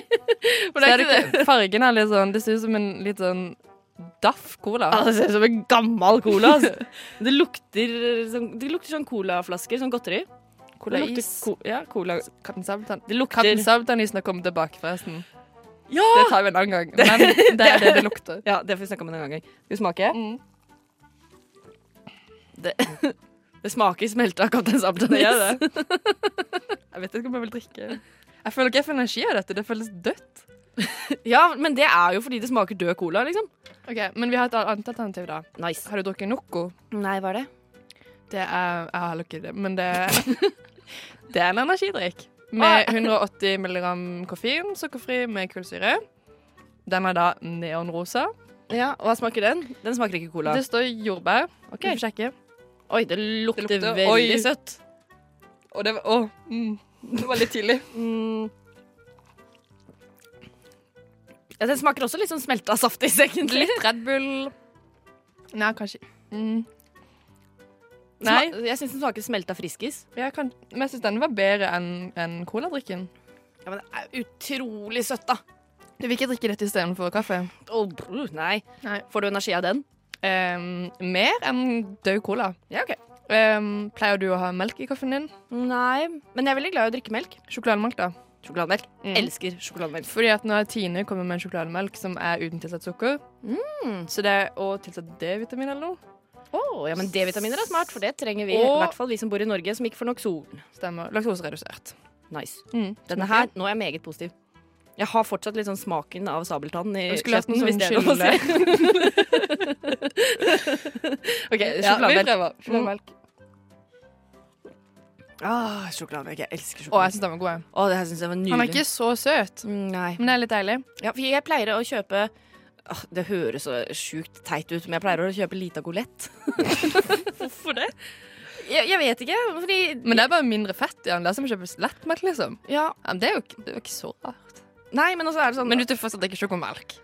[SPEAKER 3] For det
[SPEAKER 5] Ser
[SPEAKER 3] er
[SPEAKER 5] du
[SPEAKER 3] ikke det.
[SPEAKER 5] ikke- Fargen er litt sånn Det ser ut som en litt sånn Daff Cola.
[SPEAKER 3] Ja, Ah, det ser ut som en gammel cola. Altså. Det, lukter, sånn, det lukter sånn colaflasker, sånn godteri.
[SPEAKER 5] Cola
[SPEAKER 3] Det lukter
[SPEAKER 5] is.
[SPEAKER 3] Co ja, cola.
[SPEAKER 5] Kaptein Sabeltann.
[SPEAKER 3] Det lukter
[SPEAKER 5] Kaptein Sabeltann-isen har kommet tilbake, forresten.
[SPEAKER 3] Ja!
[SPEAKER 5] Det tar vi en annen gang. Men det er det det lukter.
[SPEAKER 3] ja, det får vi snakke om en annen gang. Skal vi smake?
[SPEAKER 5] Mm.
[SPEAKER 3] Det, det smaker smelta Kaptein Sabeltann-is.
[SPEAKER 5] Det gjør det. Jeg vet ikke om jeg vil drikke. Jeg føler ikke jeg får energi av dette. Det føles dødt.
[SPEAKER 3] Ja, men det er jo fordi det smaker død cola, liksom.
[SPEAKER 5] Ok, Men vi har et annet alternativ, da.
[SPEAKER 3] Nice.
[SPEAKER 5] Har du drukket Noco?
[SPEAKER 3] Nei, hva er det?
[SPEAKER 5] Det er Jeg har heller ikke det, men det Det er en energidrikk. Med 180 milligram koffein, sukkerfri med kullsyre. Den er da neonrosa.
[SPEAKER 3] Ja, Hva smaker den? Den smaker ikke cola.
[SPEAKER 5] Det står jordbær.
[SPEAKER 3] Ok.
[SPEAKER 5] Du får sjekke.
[SPEAKER 3] Oi, det lukter,
[SPEAKER 5] Det lukter-
[SPEAKER 3] veldig
[SPEAKER 5] oi.
[SPEAKER 3] søtt.
[SPEAKER 5] Og det var Å! mm. Det var litt tidlig.
[SPEAKER 3] Mm. Ja, den smaker også litt sånn smelta saftis, egentlig.
[SPEAKER 5] Litt Red Bull Nei, kanskje mm. Nei.
[SPEAKER 3] Sma- Jeg syns den smaker smelta friskis.
[SPEAKER 5] Jeg kan, men jeg syns denne var bedre enn enn coladrikken.
[SPEAKER 3] Ja, men det er utrolig søtt, da.
[SPEAKER 5] Du vil ikke drikke dette istedenfor kaffe?
[SPEAKER 3] Å, brr, nei.
[SPEAKER 5] Nei.
[SPEAKER 3] Får du energi av den?
[SPEAKER 5] Ehm, mer enn død cola.
[SPEAKER 3] Ja, ok.
[SPEAKER 5] Ehm, pleier du å ha melk i kaffen din?
[SPEAKER 3] Nei, men jeg er veldig glad i å drikke melk.
[SPEAKER 5] Sjokolademelk, da.
[SPEAKER 3] Sjokolademelk.
[SPEAKER 5] Mm.
[SPEAKER 3] Elsker sjokolademelk.
[SPEAKER 5] Fordi at nå har Tine kommet med en sjokolademelk som er uten tilsatt sukker. Så det er å tilsatt D-vitamin eller noe.
[SPEAKER 3] Å, ja, men D-vitaminer er smart, for det trenger vi. I
[SPEAKER 5] Og-
[SPEAKER 3] hvert fall vi som bor i Norge, som ikke får nok sol.
[SPEAKER 5] Stemmer. Laktoseredusert.
[SPEAKER 3] Nice.
[SPEAKER 5] Mm.
[SPEAKER 3] Denne her, nå er jeg meget positiv. Jeg har fortsatt litt sånn smaken av sabeltann i
[SPEAKER 5] Jeg skulle hatt
[SPEAKER 3] kjeften.
[SPEAKER 5] noe
[SPEAKER 3] hvis
[SPEAKER 5] sånn
[SPEAKER 3] det er lov å si.
[SPEAKER 5] skille.
[SPEAKER 3] Ok,
[SPEAKER 5] Ja, vi
[SPEAKER 3] sjokolademelk.
[SPEAKER 5] prøver. Sjokolademelk. Mm.
[SPEAKER 3] ah, sjokolademelk. Jeg elsker
[SPEAKER 5] Å, jeg
[SPEAKER 3] sjokolademelk.
[SPEAKER 5] syns den var god. jeg.
[SPEAKER 3] Å, det her syns jeg var nydelig.
[SPEAKER 5] Han er ikke så søt,
[SPEAKER 3] Mm, Nei.
[SPEAKER 5] men det er litt deilig.
[SPEAKER 3] Ja, for jeg pleier å kjøpe Åh, Det høres så sjukt teit ut, men jeg pleier å kjøpe Lita Golett. Hvorfor det? Jeg, jeg vet ikke. Fordi
[SPEAKER 5] Men det er bare mindre fett i den. Det er som å kjøpe lettmelk, liksom.
[SPEAKER 3] ja,
[SPEAKER 5] Ja, men det er jo ikke, det er jo ikke så rart.
[SPEAKER 3] Nei, men også er det sånn
[SPEAKER 5] Men du tør fortsatt ikke sjokomelk.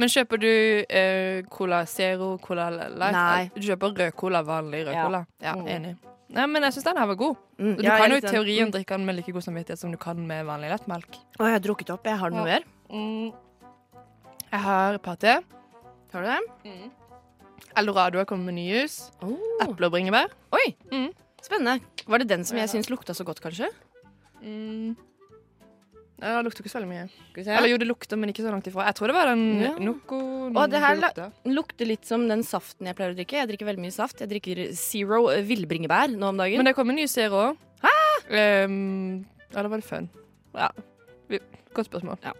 [SPEAKER 5] Men kjøper du eh, Cola Zero, Cola Light
[SPEAKER 3] Nei.
[SPEAKER 5] Du kjøper rød cola, vanlig rød
[SPEAKER 3] Ja.
[SPEAKER 5] cola. Ja,
[SPEAKER 3] Mm.
[SPEAKER 5] enig. Nei, men jeg syns den her var god.
[SPEAKER 3] Mm,
[SPEAKER 5] Du
[SPEAKER 3] ja, jeg
[SPEAKER 5] kan jo i
[SPEAKER 3] likte den.
[SPEAKER 5] teorien drikke den med like god samvittighet som du kan med vanlig lettmelk.
[SPEAKER 3] Å, jeg har drukket opp. Jeg har den
[SPEAKER 5] Ja.
[SPEAKER 3] noe mer.
[SPEAKER 5] Jeg har et par til.
[SPEAKER 3] Har du det?
[SPEAKER 5] Eldorado har kommet med ny jus.
[SPEAKER 3] Oh.
[SPEAKER 5] Eple og bringebær.
[SPEAKER 3] Oi!
[SPEAKER 5] Mm.
[SPEAKER 3] Spennende. Var det den som jeg
[SPEAKER 5] Ja.
[SPEAKER 3] syns lukta så godt, kanskje?
[SPEAKER 5] Mm. Ja, det lukter ikke så veldig mye.
[SPEAKER 3] Skal vi
[SPEAKER 5] Eller jo, det lukter, men ikke så langt ifra. Jeg tror det var den
[SPEAKER 3] Ja.
[SPEAKER 5] Noco
[SPEAKER 3] Å, det her la-
[SPEAKER 5] lukta.
[SPEAKER 3] Den lukter litt som den saften jeg pleier å drikke. Jeg drikker veldig mye saft. Jeg drikker Zero eh, villbringebær nå om dagen.
[SPEAKER 5] Men det kom en ny serie òg. Um, eller var det fun? Ja. Vi- Godt spørsmål.
[SPEAKER 3] Ja.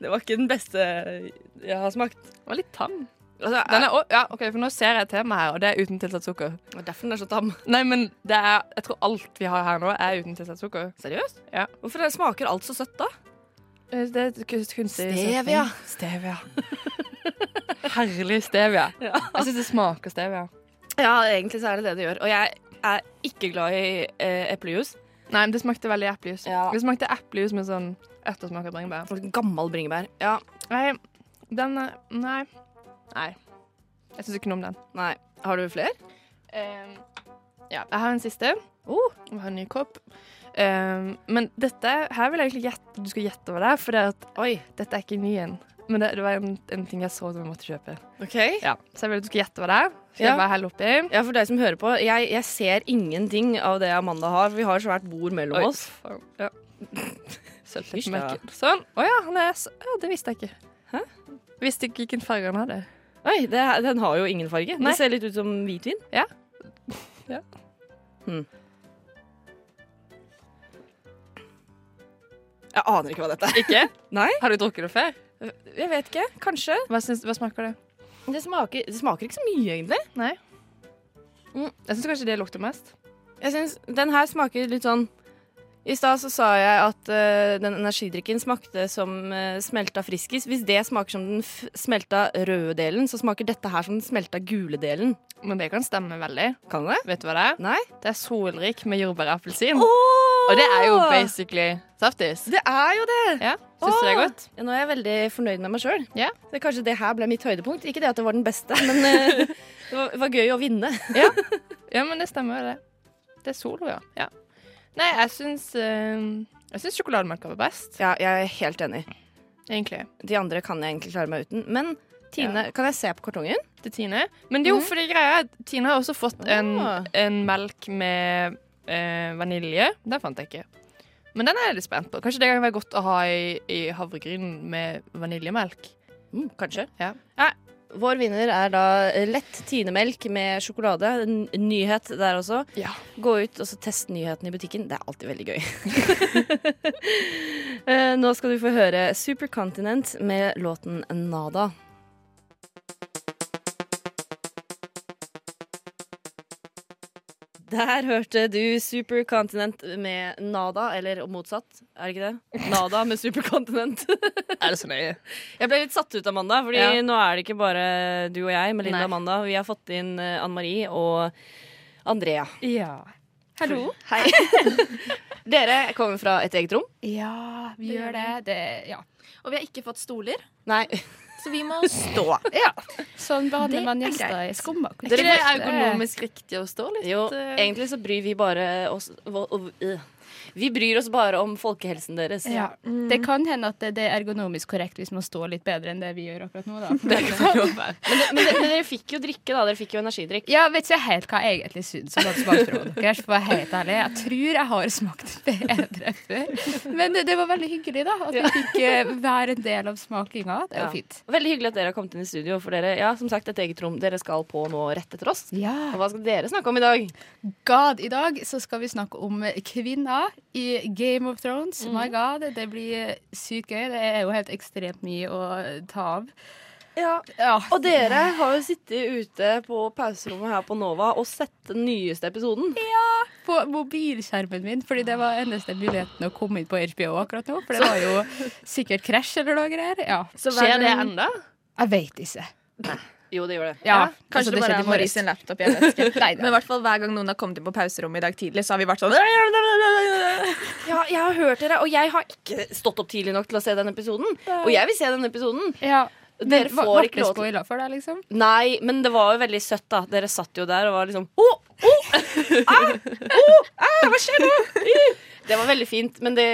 [SPEAKER 3] det var ikke den beste jeg har smakt.
[SPEAKER 5] Den var litt tam.
[SPEAKER 3] Altså,
[SPEAKER 5] Den er, å, ja, ok, for Nå ser jeg et tema her, og det er uten tilsatt sukker.
[SPEAKER 3] Det er derfor den er så tam.
[SPEAKER 5] Nei, men det er, jeg tror alt vi har her nå, er uten tilsatt sukker.
[SPEAKER 3] Seriøst?
[SPEAKER 5] Ja.
[SPEAKER 3] Hvorfor er- smaker alt så søtt, da?
[SPEAKER 5] Eh, Det er kunst- kunstig
[SPEAKER 3] Stevia.
[SPEAKER 5] søtning. Stevia. Herlig stevia. Jeg syns det smaker stevia.
[SPEAKER 3] Ja, egentlig så er det det det gjør. Og jeg er ikke glad i eh, eplejus.
[SPEAKER 5] Nei, men det smakte veldig eplejus.
[SPEAKER 3] Ja.
[SPEAKER 5] Det smakte eplejus med sånn ettersmak av bringebær.
[SPEAKER 3] Gammel bringebær. Ja.
[SPEAKER 5] Nei, den er Nei. Nei. Jeg syns ikke noe om den.
[SPEAKER 3] Nei. Har du flere?
[SPEAKER 5] Ehm, ja, jeg har en siste. Jeg har en ny kopp. Um, men dette her vil jeg egentlig gjette du skal gjette hva det er, for det er at, dette er ikke ny en. Men det, det var en, en ting jeg så som jeg måtte kjøpe. Ja, så jeg vil at du skal gjette hva det er. Skal
[SPEAKER 3] Ja.
[SPEAKER 5] jeg bare helle oppi?
[SPEAKER 3] Ja, for deg som hører på, jeg, jeg ser ingenting av det Amanda har. for Vi har svært bord mellom
[SPEAKER 5] Oi,
[SPEAKER 3] oss.
[SPEAKER 5] faen, Ja.
[SPEAKER 3] Hysj, da.
[SPEAKER 5] Merker. Sånn. Å ja, han er så Ja, det visste jeg ikke. Hæ? Visste ikke hvilken farge han hadde.
[SPEAKER 3] Oi, det, den har jo ingen farge.
[SPEAKER 5] Nei.
[SPEAKER 3] Det ser litt ut som hvitvin.
[SPEAKER 5] Ja.
[SPEAKER 3] Hmm. Jeg aner ikke hva dette er. Ikke? Nei.
[SPEAKER 5] Har du drukket det før?
[SPEAKER 3] Jeg vet ikke. Kanskje.
[SPEAKER 5] Hva, syns- hva smaker det?
[SPEAKER 3] Det smaker, det smaker ikke så mye, egentlig.
[SPEAKER 5] Nei. Mm, Jeg syns kanskje det lukter mest.
[SPEAKER 3] Jeg syns den her smaker litt sånn I stad så sa jeg at eh, den energidrikken smakte som eh, smelta friskis. Hvis det smaker som den f smelta røde delen, så smaker dette her som den smelta gule delen.
[SPEAKER 5] Men det kan stemme veldig.
[SPEAKER 3] Kan det?
[SPEAKER 5] Vet du hva det er?
[SPEAKER 3] Nei.
[SPEAKER 5] Det er solrik med jordbær og appelsin. Og det er jo basically saftis.
[SPEAKER 3] Det er jo det!
[SPEAKER 5] Ja, Syns du det er
[SPEAKER 3] Åh!
[SPEAKER 5] godt?
[SPEAKER 3] Ja, nå er jeg veldig fornøyd med meg sjøl.
[SPEAKER 5] Ja.
[SPEAKER 3] Kanskje det her ble mitt høydepunkt. Ikke det at det var den beste, men eh, det var, var gøy å vinne.
[SPEAKER 5] Ja, men det stemmer jo det. Det er solo, ja. ja. Nei, jeg syns uh, Jeg syns sjokolademelk var best,
[SPEAKER 3] Ja, jeg er helt enig.
[SPEAKER 5] egentlig.
[SPEAKER 3] De andre kan jeg egentlig klare meg uten. Men Tine, kan jeg se på kartongen?
[SPEAKER 5] Til Tine. Men det er jo
[SPEAKER 3] Mhm.
[SPEAKER 5] fordi greia er at Tine har også fått en,
[SPEAKER 3] Ah.
[SPEAKER 5] en melk med eh, vanilje. Den fant jeg ikke. Men den er jeg litt spent på. Kanskje det kan være godt å ha i, i havregryn med vaniljemelk.
[SPEAKER 3] Mm, kanskje.
[SPEAKER 5] Ja.
[SPEAKER 3] Nei, Vår vinner er da lett tinemelk med sjokolade. En nyhet der også.
[SPEAKER 5] Ja.
[SPEAKER 3] Gå ut og så test nyheten i butikken. Det er alltid veldig gøy. Eh, Nå skal du få høre Supercontinent med låten Nada. Der hørte du Supercontinent med Nada, eller motsatt, er det ikke det? Nada med Supercontinent.
[SPEAKER 5] Er det så nøye?
[SPEAKER 3] Jeg ble litt satt ut, Amanda, fordi
[SPEAKER 5] Ja.
[SPEAKER 3] nå er det ikke bare du og jeg, Melinda
[SPEAKER 5] Nei.
[SPEAKER 3] og Amanda. Vi har fått inn eh, Anne Marie og Andrea.
[SPEAKER 5] Ja.
[SPEAKER 3] Hallo. Hei. Dere kommer fra et eget rom?
[SPEAKER 10] Ja, vi gjør det. det ja. Og vi har ikke fått stoler,
[SPEAKER 3] Nei.
[SPEAKER 10] så vi må stå. ja.
[SPEAKER 8] Sånn behandler
[SPEAKER 10] Det
[SPEAKER 8] man
[SPEAKER 10] er
[SPEAKER 8] gjester i skumma.
[SPEAKER 5] Er
[SPEAKER 10] Er
[SPEAKER 5] eh, ikke det ergonomisk riktig å stå litt?
[SPEAKER 3] Jo,
[SPEAKER 5] eh,
[SPEAKER 3] egentlig så bryr vi bare oss hva- og- øh. Vi bryr oss bare om folkehelsen deres.
[SPEAKER 8] Ja. Det kan hende at det det er ergonomisk korrekt hvis man står litt bedre enn det vi gjør akkurat nå. Da.
[SPEAKER 3] Men, det- men, det- men dere fikk jo drikke, da. Dere fikk jo energidrikk.
[SPEAKER 10] Ja, vet ikke helt hva jeg egentlig syns om den smaksprøven deres. For å være helt ærlig, jeg tror jeg har smakt bedre før. Men det var veldig hyggelig, da. At vi fikk eh, være en del av smakinga. Det er
[SPEAKER 3] Ja.
[SPEAKER 10] jo fint.
[SPEAKER 3] Veldig hyggelig at dere har kommet inn i studio. For dere, ja, som sagt, et eget rom. Dere skal på nå rett etter oss.
[SPEAKER 10] Ja.
[SPEAKER 3] Og hva skal dere snakke om i dag?
[SPEAKER 10] God, i dag så skal vi snakke om kvinner i Game of Thrones. My God, det blir sykt gøy. Det er jo helt ekstremt mye å ta av.
[SPEAKER 3] Ja. Og dere har jo sittet ute på pauserommet her på Nova og sett den nyeste episoden.
[SPEAKER 10] På mobilskjermen min, fordi det var eneste muligheten å komme inn på HBO akkurat nå. For det var jo sikkert krasj eller noe greier. Ja.
[SPEAKER 5] Skjer det enda?
[SPEAKER 10] Jeg veit ikke.
[SPEAKER 3] Jo, det gjør det.
[SPEAKER 10] Ja,
[SPEAKER 11] Kanskje det
[SPEAKER 10] altså,
[SPEAKER 11] bare er
[SPEAKER 10] skjedde i morges.
[SPEAKER 11] Marie sin laptop. Jeg vet ikke.
[SPEAKER 10] Nei, nei.
[SPEAKER 11] Men i hvert fall hver gang noen har kommet inn på pauserommet i dag tidlig, så har vi vært sånn
[SPEAKER 3] Ja, jeg har hørt dere, og jeg har ikke stått opp tidlig nok til å se den episoden. Og jeg vil se den episoden.
[SPEAKER 10] Ja.
[SPEAKER 3] Dere
[SPEAKER 10] Men var-
[SPEAKER 3] får
[SPEAKER 10] ble
[SPEAKER 3] ikke lov til
[SPEAKER 10] spoila for deg, liksom?
[SPEAKER 3] Nei, men det var jo veldig søtt, da. Dere satt jo der og var liksom Å! Å! Ah! Å! Ah! Hva skjer nå? Det var veldig fint, men det,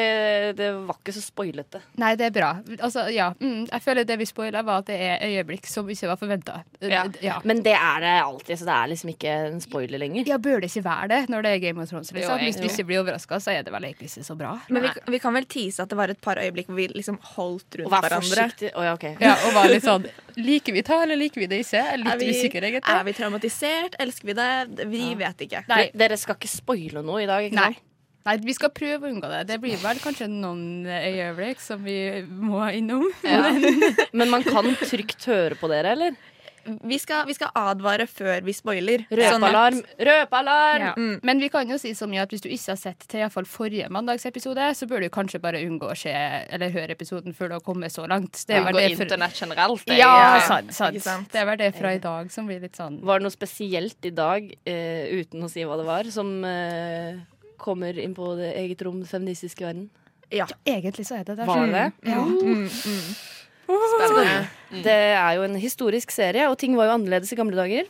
[SPEAKER 3] det var ikke så spoilete.
[SPEAKER 10] Nei, det er bra. Altså, ja. Mm, jeg føler det vi spoila, var at det er øyeblikk som ikke var forventa. Ja.
[SPEAKER 3] Men det er det alltid, så det er liksom ikke en spoiler lenger.
[SPEAKER 10] Ja, bør det ikke være det når det er Game of Thrones? Liksom.
[SPEAKER 3] Jo,
[SPEAKER 10] Hvis du
[SPEAKER 3] egentlig.
[SPEAKER 10] ikke blir overraska, så er det vel egentlig ikke så bra.
[SPEAKER 11] Men vi, vi kan vel tease at det var et par øyeblikk hvor vi liksom holdt rundt
[SPEAKER 3] Og vær
[SPEAKER 11] hverandre.
[SPEAKER 3] forsiktig. Å ja, OK.
[SPEAKER 10] Ja, og var litt sånn Liker vi det, eller liker vi det ikke? Jeg er
[SPEAKER 11] Er
[SPEAKER 10] litt
[SPEAKER 11] vi-
[SPEAKER 10] usikker, egentlig.
[SPEAKER 11] Er vi traumatisert? Elsker vi det? Vi vet ikke.
[SPEAKER 3] Nei. Dere skal ikke spoile noe i dag, ikke
[SPEAKER 10] Nei.
[SPEAKER 3] sant?
[SPEAKER 10] Nei, vi skal prøve å unngå det. Det blir vel kanskje noen eh, øyeblikk som vi må innom.
[SPEAKER 3] Men man kan trygt høre på dere, eller?
[SPEAKER 11] Vi skal, vi skal advare før vi spoiler.
[SPEAKER 3] Røpealarm! Røpealarm!
[SPEAKER 10] Ja.
[SPEAKER 11] Mm.
[SPEAKER 10] Men vi kan jo si så mye at hvis du ikke har sett til i hvert fall forrige mandagsepisode, så bør du kanskje bare unngå å se eller høre episoden før du har kommet så langt. Det er vel
[SPEAKER 5] Unngå
[SPEAKER 10] det for-
[SPEAKER 5] internett generelt.
[SPEAKER 10] Ja, sant, sant.
[SPEAKER 11] Ikke sant?
[SPEAKER 10] Det er vel det fra i dag som blir litt sånn
[SPEAKER 3] Var det noe spesielt i dag, eh, uten å si hva det var, som eh, kommer inn på det eget rom, den feministiske verden?
[SPEAKER 11] Ja.
[SPEAKER 10] Egentlig så er det det.
[SPEAKER 3] Var det?
[SPEAKER 10] Ja.
[SPEAKER 11] Spennende.
[SPEAKER 3] Mm. Det er jo en historisk serie, og ting var jo annerledes i gamle dager.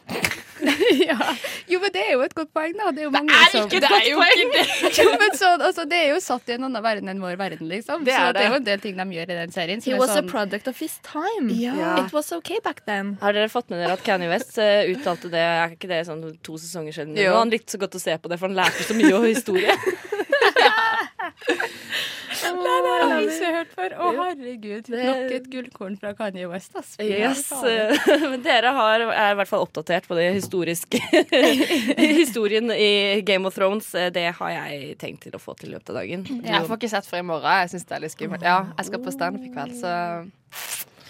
[SPEAKER 10] Jo, men det er jo et godt poeng, da. Det er jo mange
[SPEAKER 3] er
[SPEAKER 10] som
[SPEAKER 3] ikke et Det er godt jo poeng. ikke det.
[SPEAKER 10] jo, men sånn, altså, det er jo satt i en annen verden enn vår verden, liksom.
[SPEAKER 11] Det
[SPEAKER 10] så
[SPEAKER 11] er
[SPEAKER 10] det er jo
[SPEAKER 11] det.
[SPEAKER 10] en del ting de gjør i den serien. som
[SPEAKER 11] He
[SPEAKER 10] er
[SPEAKER 11] was a
[SPEAKER 10] sånn-
[SPEAKER 11] product of his time.
[SPEAKER 3] Ja.
[SPEAKER 11] It was okay back then.
[SPEAKER 3] Har dere fått med dere at Kanye West eh, uttalte det er ikke det sånn to sesonger siden?
[SPEAKER 11] Jo.
[SPEAKER 3] Og han likte så godt å se på det, for han lærte så mye om historie.
[SPEAKER 10] Nei, det har jeg ikke hørt før. Å, herregud.
[SPEAKER 3] Det-
[SPEAKER 10] Nok et gullkorn fra Kanye West, ass. Fy
[SPEAKER 3] Yes. eh,
[SPEAKER 10] faen.
[SPEAKER 3] Men dere har, er i hvert fall oppdatert på det historiske. Historien i Game of Thrones, eh, det har jeg tenkt til å få til i løpet av dagen.
[SPEAKER 5] Jeg får ikke sett før i morgen. Jeg synes det er litt skummelt. Ja, jeg skal på standup i kveld, så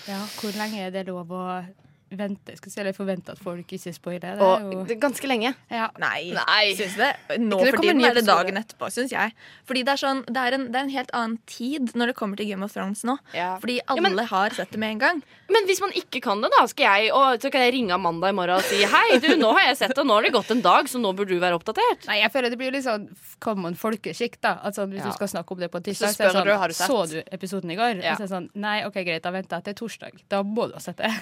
[SPEAKER 10] Ja, hvor lenge er det lov å vente? Skal jeg si, eller forvente at folk ikke spoiler? Det er
[SPEAKER 3] Og
[SPEAKER 10] jo
[SPEAKER 3] det er ganske lenge.
[SPEAKER 10] Ja.
[SPEAKER 11] Nei.
[SPEAKER 3] Nei.
[SPEAKER 11] Syns du det? Nå
[SPEAKER 3] Ikke det
[SPEAKER 11] for
[SPEAKER 3] kommer en
[SPEAKER 11] tiden
[SPEAKER 3] ny
[SPEAKER 11] er det
[SPEAKER 3] episode.
[SPEAKER 11] dagen etterpå, syns jeg. Fordi det er, sånn, det, er en, det er en helt annen tid når det kommer til Game of Thrones nå. Fordi alle har sett det med en gang.
[SPEAKER 3] Men hvis man ikke kan det, da, skal jeg, og, så kan jeg ringe Amanda i morgen og si hei, du, nå har jeg sett det, nå har det gått en dag, så nå burde du være oppdatert.
[SPEAKER 10] Nei, jeg føler det blir jo litt sånn common folkeskikk, da. At sånn, hvis
[SPEAKER 3] Ja.
[SPEAKER 10] du skal snakke om det på en
[SPEAKER 3] Så
[SPEAKER 10] tirsdag, så,
[SPEAKER 3] spør
[SPEAKER 10] er det sånn,
[SPEAKER 3] du, har du sett?
[SPEAKER 10] så du episoden i går?
[SPEAKER 3] Ja.
[SPEAKER 10] Og så er det sånn, nei, ok, greit, da venter jeg til torsdag. Da må du ha sett det.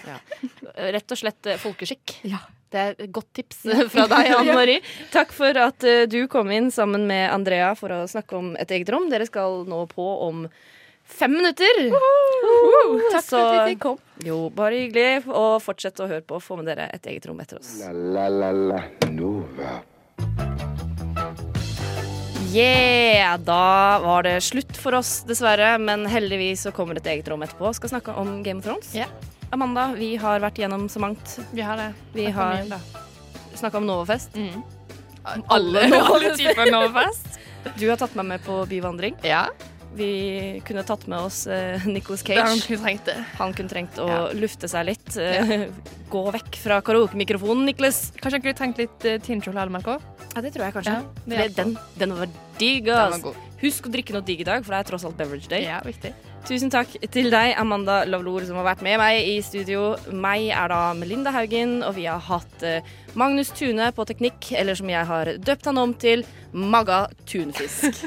[SPEAKER 3] Rett og slett eh, folkeskikk.
[SPEAKER 10] Ja.
[SPEAKER 3] Det er et godt tips fra deg, Anne Marie. Takk for at eh, du kom inn sammen med Andrea for å snakke om et eget rom. Dere skal nå på om fem minutter. eh,
[SPEAKER 10] Takk for at vi fikk komme.
[SPEAKER 3] Jo, bare hyggelig. Og fortsett å høre på. Få med dere et eget rom etter oss.
[SPEAKER 2] La la la la Nova.
[SPEAKER 3] Yeah! Da var det slutt for oss, dessverre. Men heldigvis så kommer et eget rom etterpå. Skal snakke om Game of Thrones. Amanda, vi har vært gjennom så mangt.
[SPEAKER 5] Vi har det.
[SPEAKER 3] Vi
[SPEAKER 5] Snakket
[SPEAKER 3] har
[SPEAKER 5] mye om det.
[SPEAKER 3] snakka om Novafest.
[SPEAKER 10] Mm.
[SPEAKER 3] Om
[SPEAKER 5] Alle- alle typer Novafest.
[SPEAKER 3] Du har tatt meg med på byvandring. Vi kunne tatt med oss eh, Nicolas Cage.
[SPEAKER 11] Det han kunne trengt det.
[SPEAKER 3] Han kunne trengt å lufte seg litt. eh, Gå vekk fra karaoke-mikrofonen, Niklas.
[SPEAKER 5] Kanskje han kunne tenkt litt uh, LMK?
[SPEAKER 3] Ja, det tror jeg kanskje.
[SPEAKER 5] det
[SPEAKER 3] Fordi
[SPEAKER 5] hjelper.
[SPEAKER 3] den, den var digg,
[SPEAKER 5] var
[SPEAKER 3] ass.
[SPEAKER 5] god.
[SPEAKER 3] Husk å drikke noe digg i dag, for det er tross alt beverage day. Tusen takk til deg, Amanda Lavlor, som har vært med meg i studio. Meg er da Melinda Haugen, og vi har hatt eh, Magnus Tune på teknikk, eller som jeg har døpt han om til, Magga Tunfisk.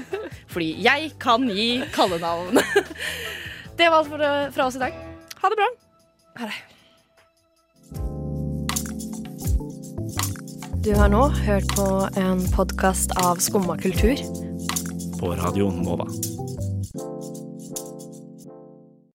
[SPEAKER 3] Fordi jeg kan gi kallenavn. det var alt for, eh, fra oss i dag. Ha det bra.
[SPEAKER 12] Du har nå hørt på en podkast av Skumma kultur.
[SPEAKER 13] På Radio Nova.